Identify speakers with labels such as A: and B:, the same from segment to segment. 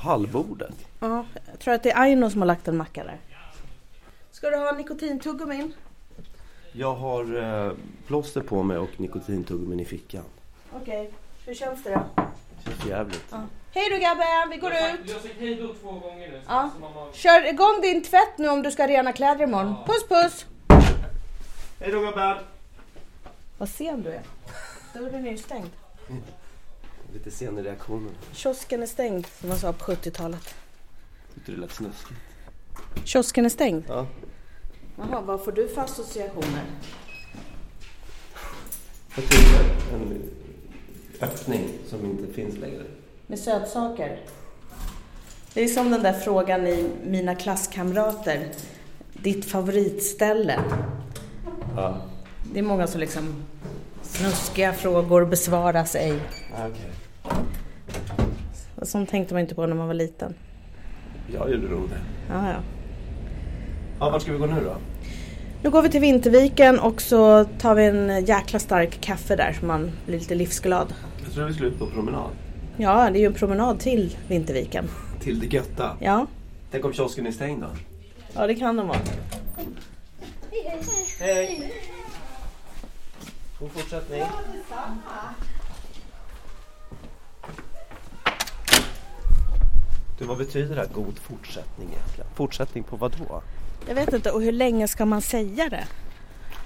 A: Hallbordet.
B: Ja, jag tror att det är Aino som har lagt en macka där. Ska du ha nikotintuggummin?
A: Jag har eh, plåster på mig och nikotintuggummin i fickan.
B: Okej, hur känns det då?
A: Känns jävligt.
B: Hej då Gabben, vi går ut!
C: Jag har sagt hej då två gånger nu.
B: Ja.
C: Så mamma...
B: Kör igång din tvätt nu om du ska rena kläder imorgon. Puss puss!
C: Hej då gubben!
B: Vad sen du är. Dörren är ju stängd.
A: Lite sen i reaktionen.
B: Kiosken är stängd, som man sa på 70-talet.
A: Tyckte det lät snuskigt.
B: Kiosken är stängd?
A: Ja.
B: Jaha, vad får du för associationer?
A: Jag tycker en eh, öppning som inte finns längre.
B: Med sötsaker? Det är som den där frågan i Mina klasskamrater. Ditt favoritställe?
A: Ja.
B: Det är många som liksom snuskiga frågor besvaras ej.
A: Ah, Okej.
B: Och Sånt tänkte man inte på när man var liten.
A: Jag gjorde nog det.
B: Ja, ja.
A: Ja, vart ska vi gå nu då?
B: Nu går vi till Vinterviken och så tar vi en jäkla stark kaffe där så man blir lite livsglad.
A: Jag tror vi skulle ut på promenad.
B: Ja, det är ju en promenad till Vinterviken.
A: Till det götta.
B: Ja,
A: Tänk om kiosken är stängd då?
B: ja det kan de vara.
A: Hej! God fortsättning. Du, vad betyder det här god fortsättning egentligen? Fortsättning på vad då?
B: Jag vet inte, och hur länge ska man säga det?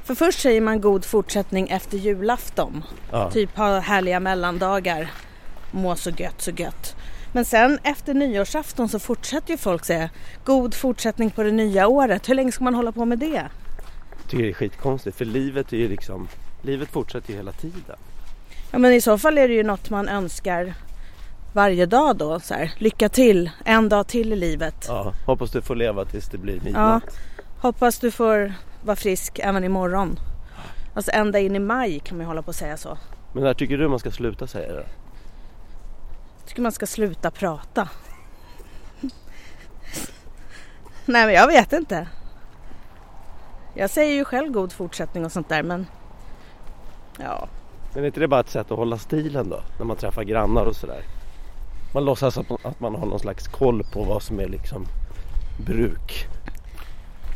B: För först säger man god fortsättning efter julafton.
A: Ja.
B: Typ ha härliga mellandagar. Må så gött, så gött. Men sen efter nyårsafton så fortsätter ju folk säga god fortsättning på det nya året. Hur länge ska man hålla på med det?
A: Jag tycker det är skitkonstigt för livet är ju liksom, livet fortsätter ju hela tiden.
B: Ja men i så fall är det ju något man önskar varje dag då. Så här. Lycka till, en dag till i livet.
A: Ja. Hoppas du får leva tills det blir
B: Ja,
A: midnatt.
B: hoppas du får vara frisk även imorgon. Alltså ända in i maj kan man ju hålla på att säga så.
A: Men när tycker du man ska sluta säga det?
B: Jag tycker man ska sluta prata. Nej men jag vet inte. Jag säger ju själv god fortsättning och sånt där men ja,
A: Men är inte det bara ett sätt att hålla stilen då? När man träffar grannar och sådär. Man låtsas att man, att man har någon slags koll på vad som är liksom bruk.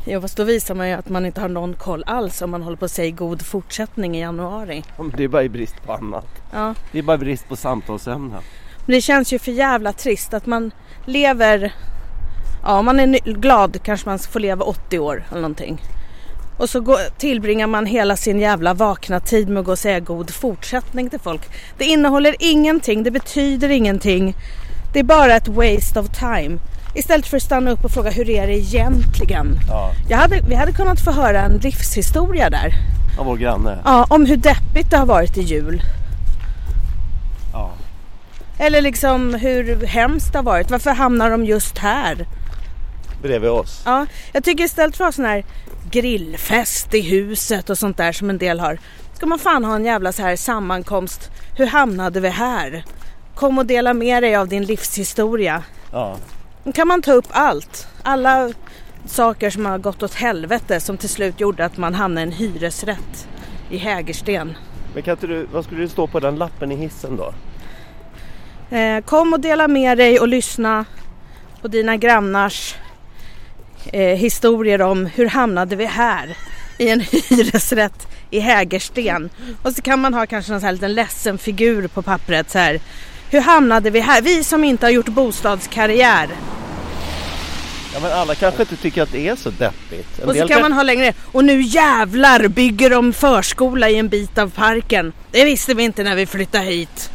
B: jo fast då visar man ju att man inte har någon koll alls om man håller på att säga god fortsättning i januari.
A: Ja, men det är bara i brist på annat.
B: Ja.
A: Det är bara brist på samtalsämnen.
B: Men det känns ju för jävla trist att man lever... Ja, om man är ny- glad kanske man får leva 80 år eller någonting. Och så går, tillbringar man hela sin jävla vakna tid med att gå och säga god fortsättning till folk. Det innehåller ingenting, det betyder ingenting. Det är bara ett waste of time. Istället för att stanna upp och fråga hur är det egentligen?
A: Ja.
B: Jag hade, vi hade kunnat få höra en livshistoria där.
A: Av vår granne.
B: Ja, om hur deppigt det har varit i jul.
A: Ja.
B: Eller liksom hur hemskt det har varit. Varför hamnar de just här?
A: Bredvid oss.
B: Ja, jag tycker istället för att ha sån här grillfest i huset och sånt där som en del har. Ska man fan ha en jävla så här sammankomst. Hur hamnade vi här? Kom och dela med dig av din livshistoria.
A: Ja.
B: Då kan man ta upp allt. Alla saker som har gått åt helvete som till slut gjorde att man hamnade i en hyresrätt i Hägersten.
A: Men kan inte du, vad skulle det stå på den lappen i hissen då?
B: Eh, kom och dela med dig och lyssna på dina grannars eh, historier om hur hamnade vi här i en hyresrätt i Hägersten. Och så kan man ha kanske någon sån här liten ledsen figur på pappret så här. Hur hamnade vi här? Vi som inte har gjort bostadskarriär.
A: Ja men alla kanske inte tycker att det är så deppigt. En
B: Och så
A: del
B: kan man ha längre. Och nu jävlar bygger de förskola i en bit av parken. Det visste vi inte när vi flyttade hit.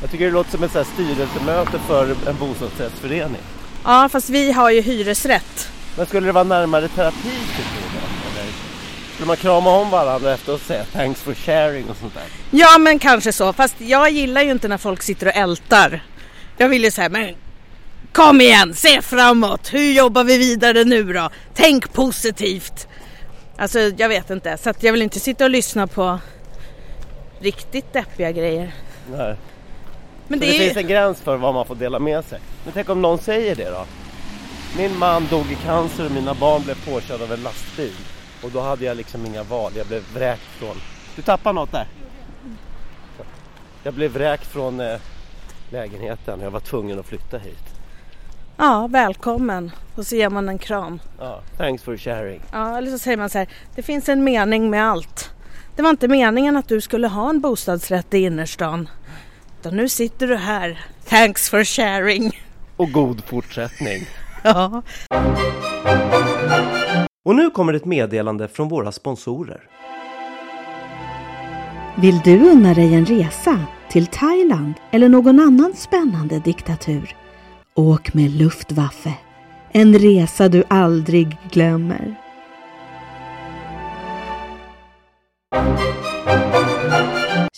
A: Jag tycker det låter som ett så här styrelsemöte för en bostadsrättsförening.
B: Ja, fast vi har ju hyresrätt.
A: Men skulle det vara närmare terapi tycker du? då, Eller skulle man krama om varandra efteråt och säga thanks for sharing och sånt där?
B: Ja men kanske så, fast jag gillar ju inte när folk sitter och ältar. Jag vill ju säga, men kom igen, se framåt, hur jobbar vi vidare nu då? Tänk positivt. Alltså jag vet inte, så att jag vill inte sitta och lyssna på riktigt deppiga grejer.
A: Nej.
B: Men
A: Så
B: det
A: det
B: är
A: finns
B: ju...
A: en gräns för vad man får dela med sig. Men tänk om någon säger det då? Min man dog i cancer och mina barn blev påkörda av en lastbil. Och då hade jag liksom inga val. Jag blev vräkt från... Du tappade något där. Jag blev vräkt från eh, lägenheten. Jag var tvungen att flytta hit.
B: Ja, välkommen. Och så ger man en kram.
A: Ja, thanks for sharing.
B: Ja, eller så säger man så här, det finns en mening med allt. Det var inte meningen att du skulle ha en bostadsrätt i innerstan. Utan nu sitter du här. Thanks for sharing.
A: Och god fortsättning.
B: Ja.
A: Och nu kommer ett meddelande från våra sponsorer.
D: Vill du unna dig en resa till Thailand eller någon annan spännande diktatur? Åk med Luftwaffe. En resa du aldrig glömmer.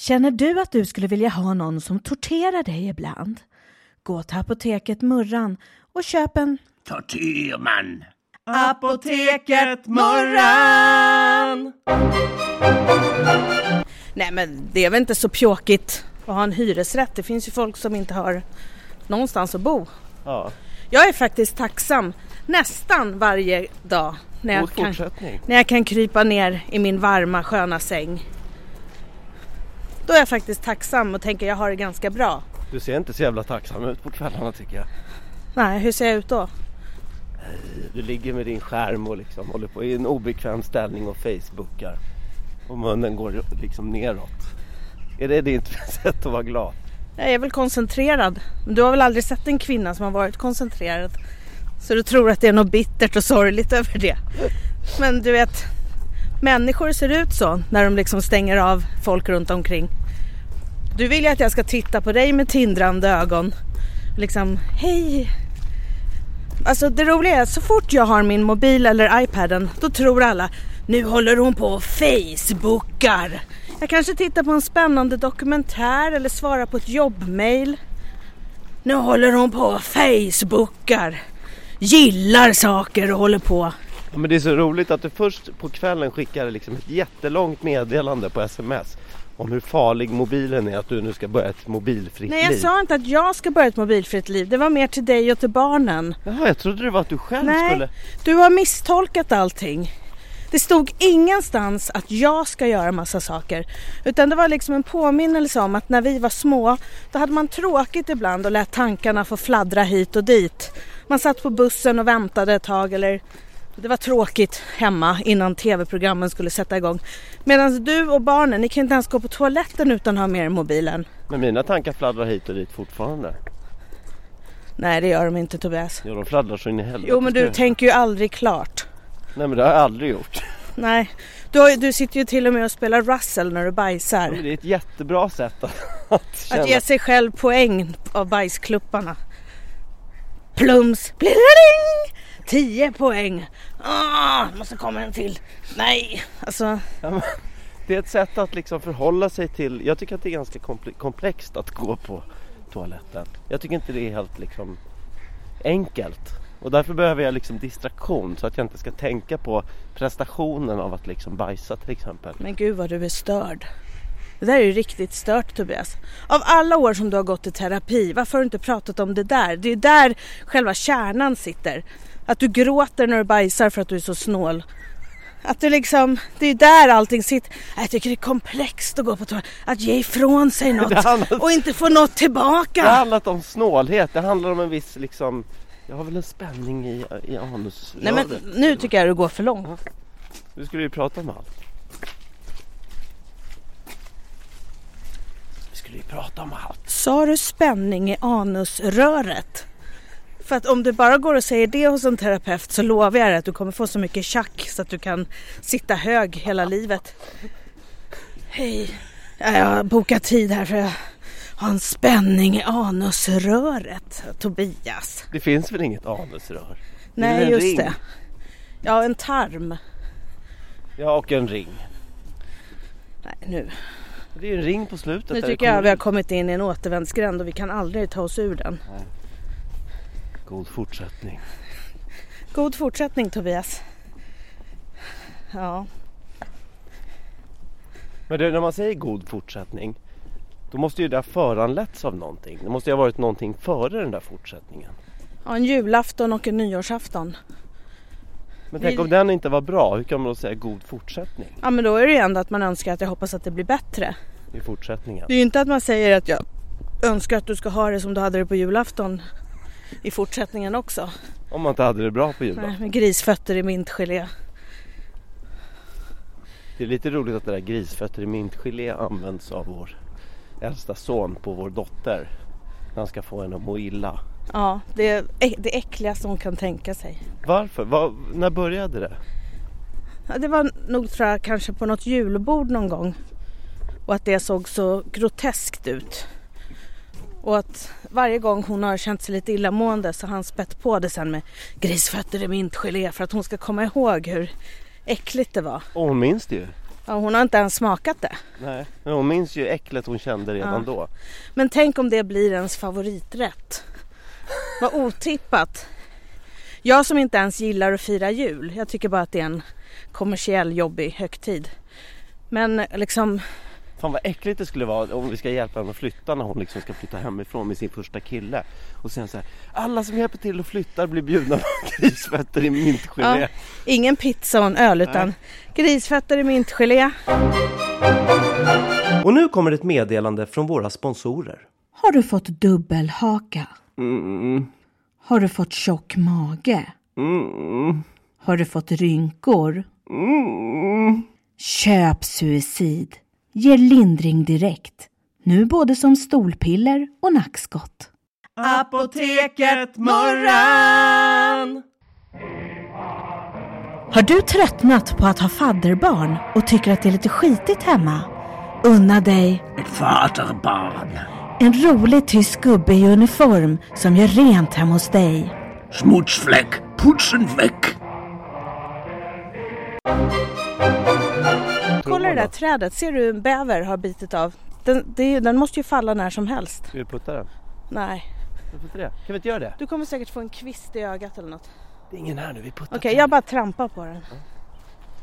E: Känner du att du skulle vilja ha någon som torterar dig ibland? Gå till apoteket Murran och köp en
F: Tortyrman.
E: Apoteket Murran!
B: Nej men det är väl inte så pjåkigt att ha en hyresrätt. Det finns ju folk som inte har någonstans att bo.
A: Ja,
B: Jag är faktiskt tacksam nästan varje dag när jag,
A: god
B: kan,
A: fortsättning.
B: när jag kan krypa ner i min varma sköna säng. Då är jag faktiskt tacksam och tänker jag har det ganska bra.
A: Du ser inte så jävla tacksam ut på kvällarna tycker jag.
B: Nej, hur ser jag ut då?
A: Du ligger med din skärm och liksom håller på i en obekväm ställning och facebookar. Och munnen går liksom neråt. Är det ditt sätt att vara glad?
B: Jag är väl koncentrerad. Men du har väl aldrig sett en kvinna som har varit koncentrerad? Så du tror att det är något bittert och sorgligt över det. Men du vet, människor ser ut så när de liksom stänger av folk runt omkring. Du vill ju att jag ska titta på dig med tindrande ögon. Liksom, hej! Alltså det roliga är att så fort jag har min mobil eller iPaden då tror alla nu håller hon på och facebookar. Jag kanske tittar på en spännande dokumentär eller svarar på ett jobbmail. Nu håller hon på och facebookar. Gillar saker och håller på.
A: Ja, men det är så roligt att du först på kvällen skickar liksom ett jättelångt meddelande på sms om hur farlig mobilen är, att du nu ska börja ett mobilfritt
B: Nej jag
A: liv.
B: sa inte att jag ska börja ett mobilfritt liv. Det var mer till dig och till barnen.
A: Jaha, jag trodde det var att du själv
B: Nej.
A: skulle...
B: Du har misstolkat allting. Det stod ingenstans att jag ska göra massa saker. Utan det var liksom en påminnelse om att när vi var små, då hade man tråkigt ibland och lät tankarna få fladdra hit och dit. Man satt på bussen och väntade ett tag eller det var tråkigt hemma innan tv-programmen skulle sätta igång. Medan du och barnen, ni kan inte ens gå på toaletten utan att ha med er mobilen.
A: Men mina tankar fladdrar hit och dit fortfarande.
B: Nej, det gör de inte Tobias.
A: Ja, de fladdrar så in i helvete.
B: Jo, men du tänker ju aldrig klart.
A: Nej, men det har jag aldrig gjort.
B: Nej, du, har, ju- du sitter ju till och med och spelar Russell när du
A: Ja, men
B: bajsar.
A: det är ett jättebra sätt att, att känna.
B: Att ge sig själv poäng av bajsklupparna. Plums, plirring! 10 poäng. Ah, det måste komma en till. Nej, alltså
A: Det är ett sätt att liksom förhålla sig till. Jag tycker att det är ganska komple- komplext att gå på toaletten. Jag tycker inte det är helt liksom enkelt. Och därför behöver jag liksom distraktion så att jag inte ska tänka på prestationen av att liksom bajsa till exempel.
B: men gud vad du är störd. Det där är ju riktigt stört Tobias. Av alla år som du har gått i terapi, varför har du inte pratat om det där? Det är ju där själva kärnan sitter. Att du gråter när du bajsar för att du är så snål. Att du liksom, det är ju där allting sitter. Jag tycker det är komplext att gå på toaletten. Att ge ifrån sig
A: Det
B: något
A: handlar,
B: och inte få något
A: det har
B: tillbaka.
A: handlat om snålhet. Det handlar om en viss liksom jag har väl en spänning i, i anus.
B: Nej men nu tycker jag du går för långt.
A: Nu skulle vi prata om allt. Vi skulle ju prata om allt.
B: Sa du spänning i anusröret? För att om du bara går och säger det hos en terapeut så lovar jag dig att du kommer få så mycket tjack så att du kan sitta hög hela livet. Hej, Ja, jag har bokat tid här för jag har en spänning i anusröret, Tobias.
A: Det finns väl inget anusrör? Det är väl
B: Nej,
A: en
B: just
A: ring?
B: det. Ja, en tarm.
A: Ja, och en ring.
B: Nej, nu.
A: Det är ju en ring på slutet.
B: nu
A: där det
B: tycker jag
A: kommer-
B: vi har kommit in i en återvändsgränd och vi kan aldrig ta oss ur den.
A: God fortsättning.
B: God fortsättning Tobias. Ja.
A: Men du, när man säger god fortsättning, då måste ju det ha föranletts av någonting. Det måste ju ha varit någonting före den där fortsättningen.
B: Ja, en julafton och en nyårsafton.
A: Men
B: Vi-
A: tänk om den inte var bra, hur kan man då säga god fortsättning
B: Ja men då är det ju ändå att man önskar att jag hoppas att det blir bättre.
A: i fortsättningen?
B: Det är ju inte att man säger att jag önskar att du ska ha det som du hade det på julafton i fortsättningen också.
A: Om man inte hade det bra på juldagen.
B: Nej, med grisfötter i mintgelé.
A: Det är lite roligt att det där grisfötter i mintgelé används av vår äldsta son på vår dotter. När han ska få henne att må illa.
B: Ja, det är äck- det äckligaste hon kan tänka sig.
A: Varför? Vad- när började det?
B: Ja, det var nog tror jag kanske på något julbord någon gång. Och att det såg så groteskt ut. Och att varje gång hon har känt sig lite illamående så har han spett på det sen med grisfötter i mintgelé för att hon ska komma ihåg hur äckligt det var.
A: Och hon minns det ju.
B: Ja, hon har inte ens smakat det.
A: Nej. Men hon minns ju äcklet hon kände redan
B: Ja.
A: då.
B: Men tänk om det blir ens favoriträtt. Vad otippat. Jag som inte ens gillar att fira jul. Jag tycker bara att det är en kommersiell jobbig högtid. Men liksom,
A: Fan vad äckligt det skulle vara om vi ska hjälpa henne att flytta när hon liksom ska flytta hemifrån med sin första kille. Och sen så här, alla som hjälper till och flyttar blir bjudna på grisfötter i mintgelé.
B: Ja. ingen pizza och en öl utan grisfötter i mintgelé.
A: Och nu kommer ett meddelande från våra sponsorer.
D: Har du fått dubbelhaka? Har du fått tjock mage? Har du fått rynkor? Köp suicid. Ger lindring direkt. Nu både som stolpiller och nackskott.
A: Apoteket Murran!
E: Har du tröttnat på att ha fadderbarn och tycker att det är lite skitigt hemma? Unna dig
F: Ett vaterbarn.
E: en rolig tysk gubbe i uniform som gör rent hemma hos dig.
F: Smutsfläck. Putsen väck.
B: Kolla det där trädet, ser du hur en bäver har bitit av? Den, det, är ju- den måste ju falla när som helst.
A: Ska vi putta den?
B: Nej,
A: Varför inte det? Kan vi inte göra det?
B: du kommer säkert få en kvist i ögat eller något.
A: Det är ingen här nu, vi puttar
B: Okej, jag bara trampar på den.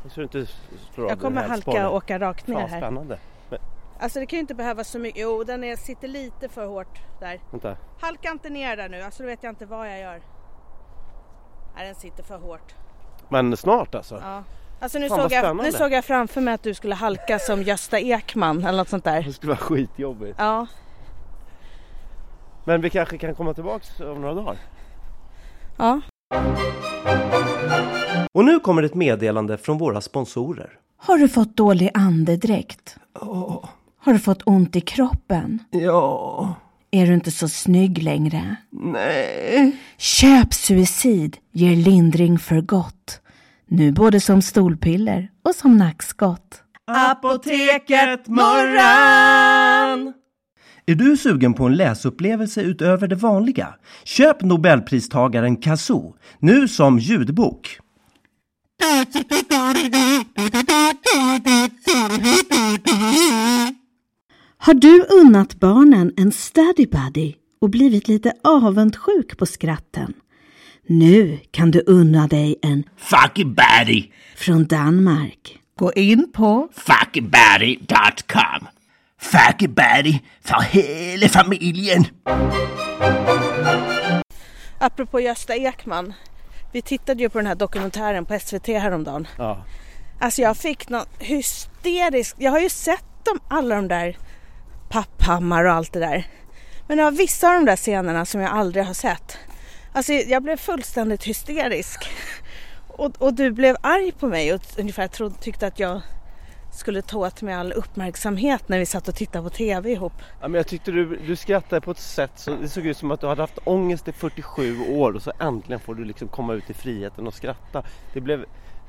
A: Jag tror inte slår av
B: Jag kommer halka och åka rakt ner
A: Fan,
B: här.
A: spännande. Men,
B: Alltså det kan ju inte behövas så mycket. Jo, den är, sitter lite för hårt där.
A: vänta.
B: Halka inte ner där nu, alltså då vet jag inte vad jag gör. Nej, den sitter för hårt.
A: Men snart alltså.
B: Ja. Alltså nu
A: Fan, vad
B: såg, jag,
A: spännande.
B: nu såg jag framför mig att du skulle halka som Gösta Ekman eller något sånt där.
A: Det skulle vara skitjobbigt.
B: Ja,
A: Men vi kanske kan komma tillbaks om några dagar.
B: ja.
A: Och nu kommer ett meddelande från våra sponsorer.
D: Har du fått dålig andedräkt? Har du fått ont i kroppen?
F: Ja.
D: Är du inte så snygg längre?
F: Nej.
D: Köp suicid. Ger lindring för gott. Nu både som stolpiller och som nackskott.
F: Apoteket Murran! Är du sugen på en läsupplevelse utöver det vanliga? Köp Nobelpristagaren Kazoo, nu som ljudbok.
D: Har du unnat barnen en study buddy och blivit lite avundsjuk på skratten? Nu kan du unna dig en
F: Fucking baddie!
D: från Danmark.
E: Gå in på
F: Fuckybaddy.com. Fuckybaddy för hela familjen.
B: Apropå Gösta Ekman. Vi tittade ju på den här dokumentären på SVT häromdagen.
A: Ja.
B: Alltså jag fick någon hysterisk, jag har ju sett dem, alla de där Papphammar och allt det där. Men det var vissa av de där scenerna som jag aldrig har sett. Alltså jag blev fullständigt hysterisk. Och, och du blev arg på mig och ungefär trodde, tyckte att jag skulle ta åt mig all uppmärksamhet när vi satt och tittade på TV ihop.
A: ja men jag tyckte du, du skrattade på ett sätt så det såg ut som att du hade haft ångest i 47 år och så äntligen får du liksom komma ut i friheten och skratta. Det blev...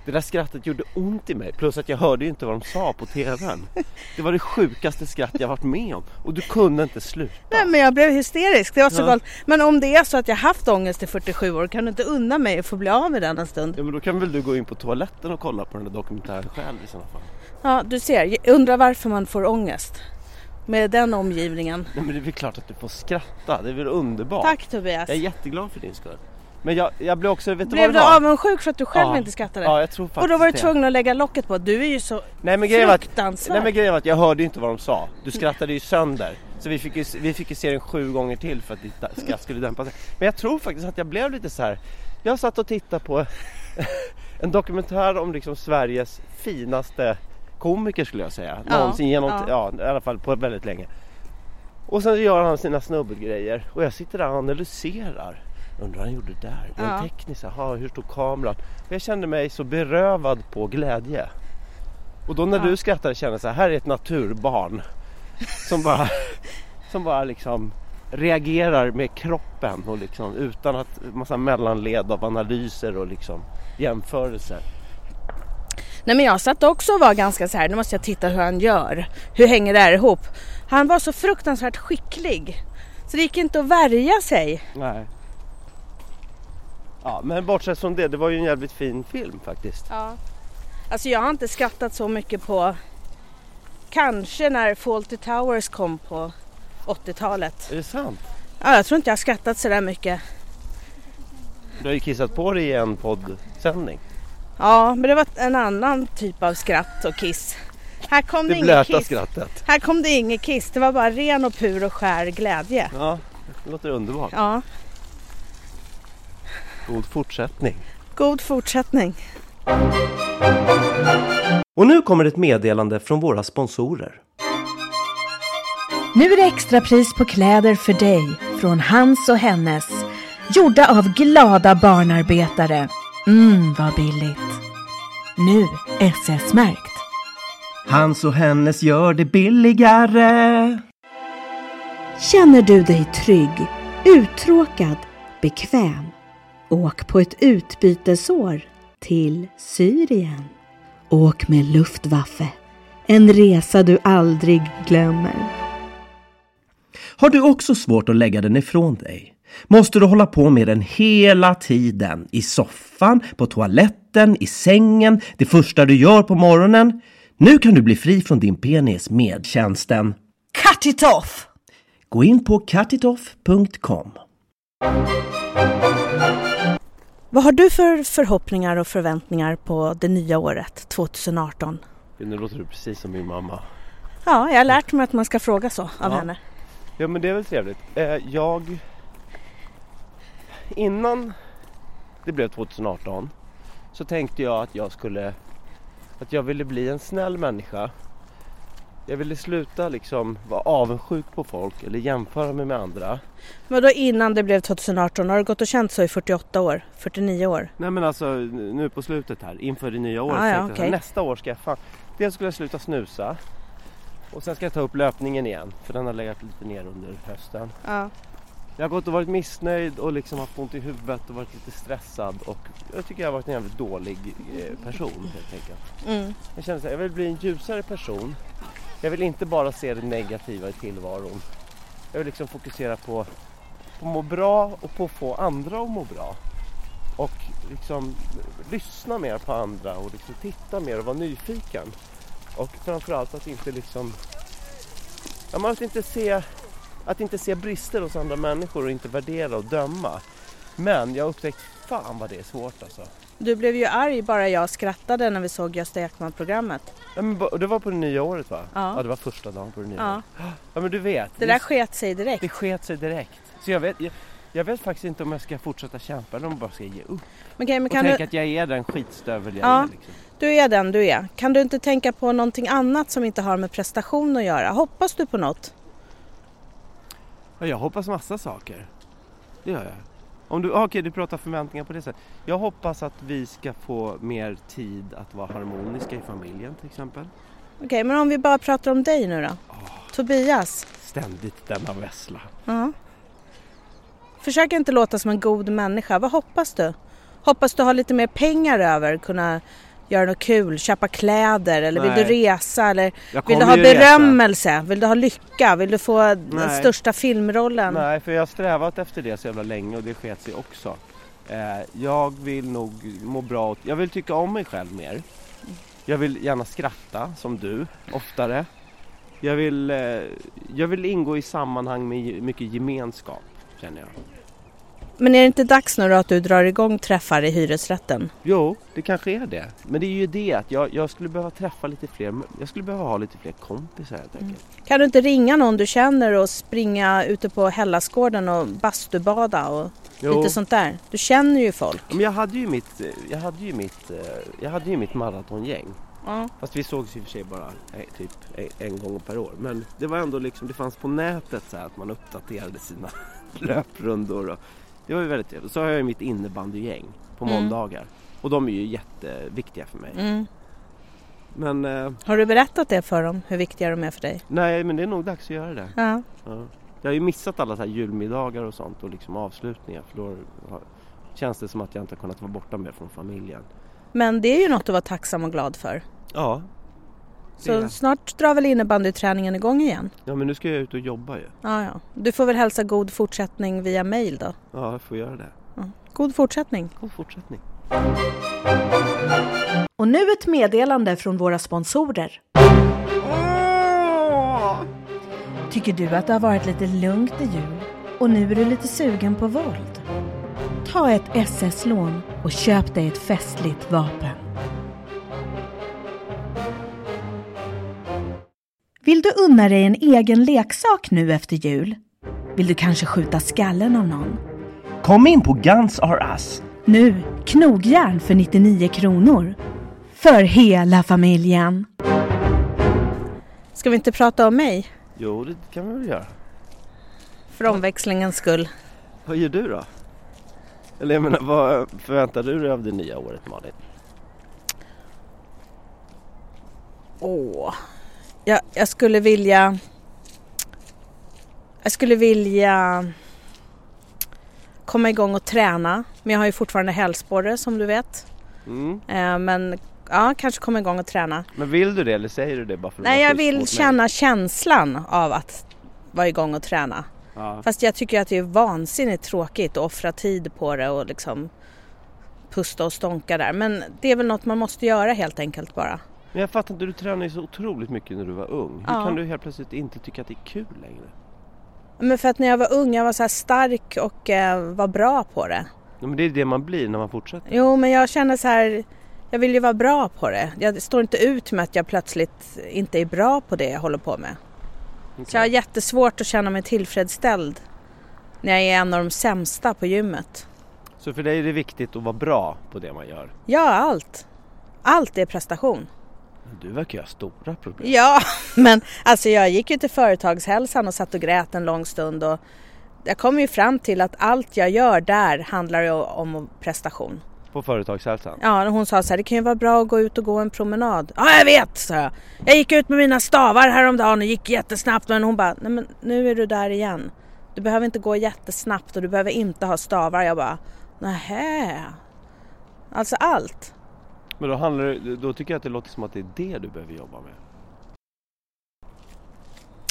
A: Det där skrattet gjorde ont i mig plus att jag hörde ju inte vad de sa på TVn. Det var det sjukaste skratt jag varit med om och du kunde inte sluta.
B: Nej men jag blev hysterisk, det var så
A: Ja.
B: galet. Men om det är så att jag haft ångest i 47 år, kan du inte unna mig att få bli av med den en stund?
A: Ja men då kan väl du gå in på toaletten och kolla på den där dokumentären själv i sådana fall.
B: Ja, du ser. Jag undrar varför man får ångest med den omgivningen.
A: Nej men det är väl klart att du får skratta, det är väl underbart.
B: Tack Tobias.
A: Jag är jätteglad för din skull. Men jag, jag blev också, vet du
B: Blev
A: vad det
B: du
A: var?
B: avundsjuk för att du själv
A: Ja.
B: inte skrattade?
A: Ja jag tror faktiskt
B: och då var du
A: det.
B: tvungen att lägga locket på. Du är ju så
A: Nej men grejen var att,
B: fruktansvärd.
A: nej men grejen var att jag hörde ju inte vad de sa. Du skrattade ju sönder. Så vi fick ju, vi fick ju se den sju gånger till för att ditt skratt skulle dämpa sig. Men jag tror faktiskt att jag blev lite så här. Jag satt och tittade på en dokumentär om liksom Sveriges finaste komiker skulle jag säga.
B: Ja,
A: Någonsin genom,
B: ja.
A: ja. i alla fall på väldigt länge. Och sen gör han sina snubbelgrejer och jag sitter där och analyserar. Undrar vad han gjorde där? Den
B: Ja.
A: tekniskt, aha, hur stod kameran? Och jag kände mig så berövad på glädje. Och då när du skrattade kände jag så här, här är ett naturbarn. Som bara, som bara liksom reagerar med kroppen och liksom utan att massa mellanled av analyser och liksom jämförelser.
B: Nej men jag satt också och var ganska så här, nu måste jag titta hur han gör. Hur hänger det här ihop? Han var så fruktansvärt skicklig. Så det gick inte att värja sig.
A: Nej. Ja, men bortsett från det, det var ju en jävligt fin film faktiskt.
B: Ja. Alltså jag har inte skrattat så mycket på kanske när Fawlty Towers kom på 80-talet.
A: Är det sant?
B: Ja, jag tror inte jag har skrattat så där mycket.
A: Du har ju kissat på dig i en poddsändning.
B: Ja, men det var en annan typ av skratt och kiss. Här kom det,
A: Det
B: inget
A: blöta
B: kiss.
A: skrattet.
B: Här kom det inget kiss. Det var bara ren och pur och skär glädje.
A: Ja, det låter underbart.
B: Ja,
A: God fortsättning.
B: god fortsättning.
F: Och nu kommer ett meddelande från våra sponsorer.
E: Nu är det extrapris på kläder för dig från hans och hennes. Gjorda av glada barnarbetare. Mm, vad billigt. Nu SS-märkt.
F: Hans och hennes gör det billigare.
D: Känner du dig trygg, uttråkad, bekväm? Åk på ett utbytesår till Syrien. Åk med Luftwaffe, en resa du aldrig glömmer.
F: Har du också svårt att lägga den ifrån dig? Måste du hålla på med den hela tiden? I soffan, på toaletten, i sängen, det första du gör på morgonen? Nu kan du bli fri från din penis med tjänsten.
E: Cut it off!
F: Gå in på cutitoff.com.
B: Vad har du för förhoppningar och förväntningar på det nya året 2018?
A: Gud, nu låter du precis som min mamma.
B: Ja, jag har lärt mig att man ska fråga så av henne.
A: Ja, men det är väl trevligt. Eh, jag... Innan det blev 2018 så tänkte jag att jag skulle... Att jag ville bli en snäll människa. Jag ville sluta liksom vara avundsjuk på folk eller jämföra mig med andra.
B: Men då innan det blev 2018, har du gått och känt så i 48 år, 49 år?
A: Nej men alltså nu på slutet här inför det nya året.
B: Ah, ja,
A: tänkte jag så här,
B: okej.
A: Nästa år ska jag fan... Dels skulle jag sluta snusa. Och sen ska jag ta upp löpningen igen. För den har legat lite ner under hösten.
B: Ja.
A: Jag har gått och varit missnöjd och liksom haft ont i huvudet och varit lite stressad. Och jag tycker jag har varit en jävligt dålig eh, person helt enkelt.
B: Mm.
A: Jag känner så här, jag vill bli en ljusare person. Jag vill inte bara se det negativa i tillvaron. Jag vill liksom fokusera på, på att må bra och på att få andra att må bra. Och liksom eh, lyssna mer på andra och liksom titta mer och vara nyfiken. Och framförallt att inte liksom... Ja, men att inte se... Att inte se brister hos andra människor och inte värdera och döma. Men jag har upptäckt, fan vad det är svårt alltså.
B: Du blev ju arg bara jag skrattade när vi såg Gösta Ekman-programmet.
A: Ja, men, ba- och det var på det nya året va?
B: Ja.
A: det var första dagen på det nya
B: Ja.
A: året. Ja men du vet,
B: Det där sket sig direkt.
A: det sket sig direkt. Så jag vet, jag, jag vet faktiskt inte om jag ska fortsätta kämpa eller om jag bara ska ge upp.
B: Men, okej, men
A: Och
B: kan
A: tänka
B: du,
A: att jag är den skitstövel jag
B: Ja.
A: är. Liksom.
B: du är den du är. Kan du inte tänka på någonting annat som inte har med prestation att göra? Hoppas du på något?
A: Ja, jag hoppas massa saker. Det gör jag. Om du, ah, okej, du pratar förväntningar på det sättet. Jag hoppas att vi ska få mer tid att vara harmoniska i familjen till exempel.
B: Okej, men om vi bara pratar om dig nu då? Tobias?
A: Ständigt denna vessla.
B: Ja. Försök inte låta som en god människa. Vad hoppas du? Hoppas du har lite mer pengar över, kunna göra något kul, köpa kläder eller vill du
A: Nej.
B: resa eller
A: Jag
B: vill du
A: kommer
B: ha
A: ju resa.
B: berömmelse? Vill du ha lycka? Vill du få den
A: Nej.
B: största filmrollen?
A: Nej, för jag har strävat efter det så jävla länge och det sket sig också. Eh, jag vill nog må bra. åt- Jag vill tycka om mig själv mer. Jag vill gärna skratta som du oftare. Jag vill, eh, jag vill ingå i sammanhang med ge- mycket gemenskap känner jag.
B: Men är det inte dags nu då att du drar igång träffar i hyresrätten?
A: Jo, det kanske är det. Men det är ju det att jag, jag skulle behöva träffa lite fler. Jag skulle behöva ha lite fler kompisar helt enkelt.
B: Kan du inte ringa någon du känner och springa ute på Hellasgården och bastubada och
A: Jo.
B: Lite sånt där. Du känner ju folk.
A: Men jag hade ju mitt, eh, jag hade ju mitt, eh, jag hade ju mitt maratongäng.
B: Ja.
A: Fast vi sågs i och för sig bara eh, typ en, en gång per år. Men det var ändå liksom, det fanns på nätet så här att man uppdaterade sina löprundor. Och, det var ju väldigt trevligt. Så har jag ju mitt innebandygäng på
B: Mm.
A: måndagar. Och de är ju jätteviktiga för mig.
B: Mm.
A: Men eh,
B: Har du berättat det för dem, hur viktiga de är för dig?
A: nej, men det är nog dags att göra det.
B: Ja.
A: Ja. Jag har ju missat alla så här julmiddagar och sånt och liksom avslutningar. För då har, känns det som att jag inte har kunnat vara borta mer från familjen.
B: Men det är ju något att vara tacksam och glad för.
A: Ja.
B: Så
A: Det är-
B: snart drar väl innebandyträningen igång igen?
A: Ja men nu ska jag ut och jobba ju.
B: Ja, ja. Du får väl hälsa god fortsättning via mail då.
A: Ja, jag får göra det.
B: Ja. God fortsättning.
A: God fortsättning.
E: Och nu ett meddelande från våra sponsorer. Tycker du att det har varit lite lugnt i jul och nu är du lite sugen på våld? Ta ett SS-lån och köp dig ett festligt vapen. Vill du unna dig en egen leksak nu efter jul? Vill du kanske skjuta skallen av någon?
F: Kom in på Guns R Us.
E: Nu knogjärn för 99 kronor. För hela familjen.
B: Ska vi inte prata om mig?
A: Jo, det kan vi väl göra.
B: För omväxlingens skull.
A: Vad gör du då? Eller jag menar, vad förväntar du dig av det nya året Malin?
B: Åh. Jag, jag skulle vilja... Jag skulle vilja komma igång och träna. Men jag har ju fortfarande hälsporre som du vet.
A: Mm.
B: Eh, men ja, kanske komma igång och träna.
A: Men vill du det eller säger du det bara för att
B: Nej,
A: vara
B: jag
A: schysst
B: vill
A: mot mig?
B: känna känslan av att vara igång och träna.
A: Ja.
B: Fast jag tycker att det är vansinnigt tråkigt att offra tid på det och liksom pusta och stånka där. Men det är väl något man måste göra helt enkelt bara.
A: Men jag fattar inte, du tränade ju så otroligt mycket när du var ung. Hur
B: Ja.
A: kan du helt plötsligt inte tycka att det är kul längre?
B: Men för att när jag var ung, jag var så här stark och eh, var bra på det.
A: Ja, men det är det man blir när man fortsätter.
B: Jo, men jag känner så här, jag vill ju vara bra på det. Jag står inte ut med att jag plötsligt inte är bra på det jag håller på med. Så jag har jättesvårt att känna mig tillfredsställd när jag är en av de sämsta på gymmet.
A: Så för dig är det viktigt att vara bra på det man gör.
B: Ja, allt. Allt är prestation.
A: Men du verkar ju ha stora problem.
B: Ja, men alltså jag gick ju till företagshälsan och satt och grät en lång stund och jag kom ju fram till att allt jag gör där handlar ju om prestation.
A: På företagshälsan.
B: Ja, och hon sa så här, det kan ju vara bra att gå ut och gå en promenad. Ja, jag vet, sa jag. Jag gick ut med mina stavar häromdagen och gick jättesnabbt men hon bara, nej men nu är du där igen. Du behöver inte gå jättesnabbt och du behöver inte ha stavar. Jag bara, nähä. Alltså allt.
A: Men då, handlar, det- då tycker jag att det låter som att det är det du behöver jobba med.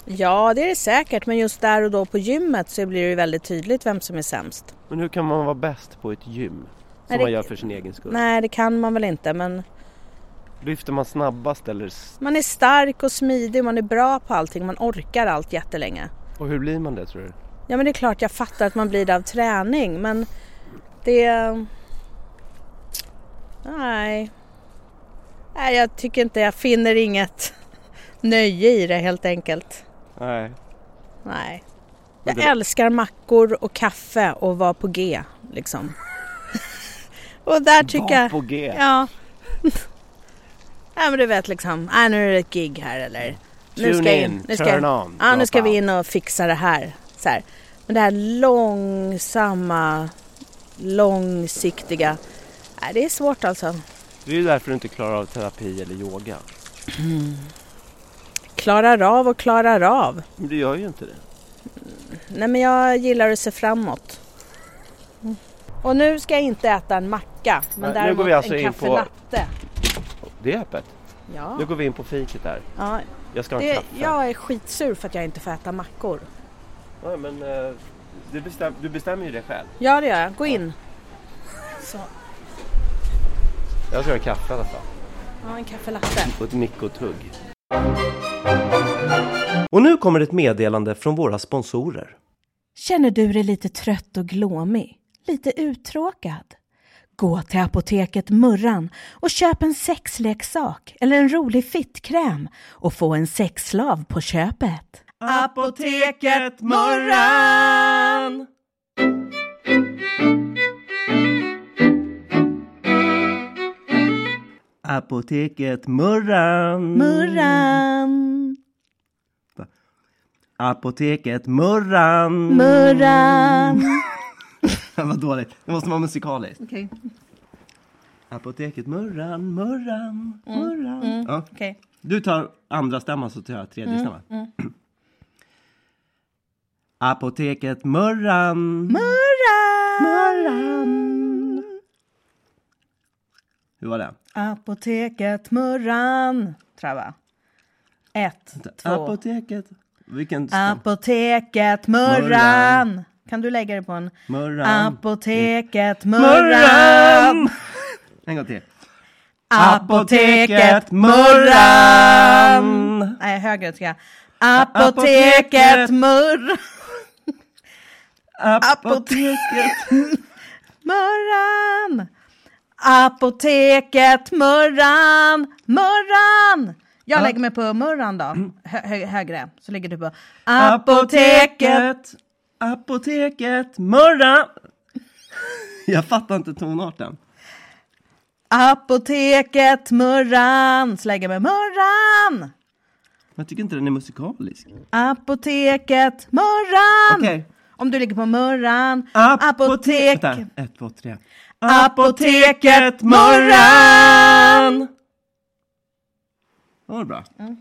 B: Ja, det är det säkert, men just där och då på gymmet så blir det ju väldigt tydligt vem som är sämst.
A: Men hur kan man vara bäst på ett gym? Som
B: Nej, det-
A: man gör för sin egen skull.
B: Nej, det kan man väl inte, men
A: Lyfter man snabbast eller... s-
B: man är stark och smidig, man är bra på allting, man orkar allt jättelänge.
A: Och hur blir man det tror du?
B: Ja, men det är klart jag fattar att man blir det av träning, men det... Nej. Nej, jag tycker inte, jag finner inget nöje i det helt enkelt.
A: Nej.
B: Nej.
A: Men
B: Jag
A: det-
B: älskar mackor och kaffe och vara på G, liksom. och där tycker jag...
A: Var på G.
B: Ja. Nej men du vet liksom, ah, nu är det ett gig här eller nu ska
A: Tune
B: jag
A: in,
B: Nu ska,
A: turn on.
B: Ja, nu
A: drop
B: ska vi
A: out.
B: in och fixa det här. Så här. Men det här långsamma, långsiktiga. Nej, det är svårt alltså.
A: Det är ju därför du inte klarar av terapi eller yoga.
B: Klarar av och klarar av.
A: Men du gör ju inte det.
B: Nej men jag gillar att se framåt. Mm. Och nu ska jag inte äta en macka. Men
A: Nej, nu
B: däremot
A: går vi alltså
B: en
A: in på-
B: kaffelatte.
A: Det är öppet.
B: Ja.
A: Nu går vi in på fiket här.
B: ja.
A: Jag ska ha en
B: Det,
A: kaffe.
B: jag är skitsur för att jag inte får äta mackor.
A: Ja, men, eh, du, bestäm, du bestämmer ju det själv.
B: Ja det gör jag, gå in. Så,
A: Jag ska ha en kaffe i alla fall.
B: ja, en kaffelatte.
A: Och ett mikrotugg. Och nu kommer ett meddelande från våra sponsorer.
E: Känner du dig lite trött och glåmig? Lite uttråkad? Gå till apoteket Murran och köp en sexleksak eller en rolig fittkräm och få en sexslav på köpet.
F: Apoteket Morran! Apoteket Murran.
B: Murran,
F: Apoteket Murran.
B: murran.
F: Vad dåligt. Det måste vara musikaliskt.
B: Okej,
F: Apoteket Murran, Murran, Murran. Ja.
B: Mm, okej. Mm.
F: Du tar andra stämman så tar jag tredje stämman. Apoteket Murran.
B: Murran,
F: Murran. Hur var den?
B: apoteket Murran. Trava. Ett, två.
F: Apoteket. Vilken stämma?
B: Apoteket Murran.
F: Murran.
B: Kan du lägga det på en?
F: Murran.
B: Apoteket Murran.
F: En gång till.
B: Apoteket Murran. Nej, högre ska jag. Apoteket
F: Apoteket.
B: Murran.
F: Apoteket.
B: Murran! Apoteket Murran! Murran! Jag lägger mig på Murran då,
F: Mm.
B: hö hö högre. Så ligger du på Apoteket
F: Apoteket. Apoteket. Murran. Jag fattar inte tonarten.
B: Apoteket Murran! Så lägger jag mig Murran!
F: Jag tycker inte den är musikalisk.
B: Apoteket Murran!
F: Okej.
B: Om du ligger på Murran.
F: Apotek...
B: Apotek...
F: Vänta, ett, två, tre.
B: Apoteket
F: Murran! Det var bra.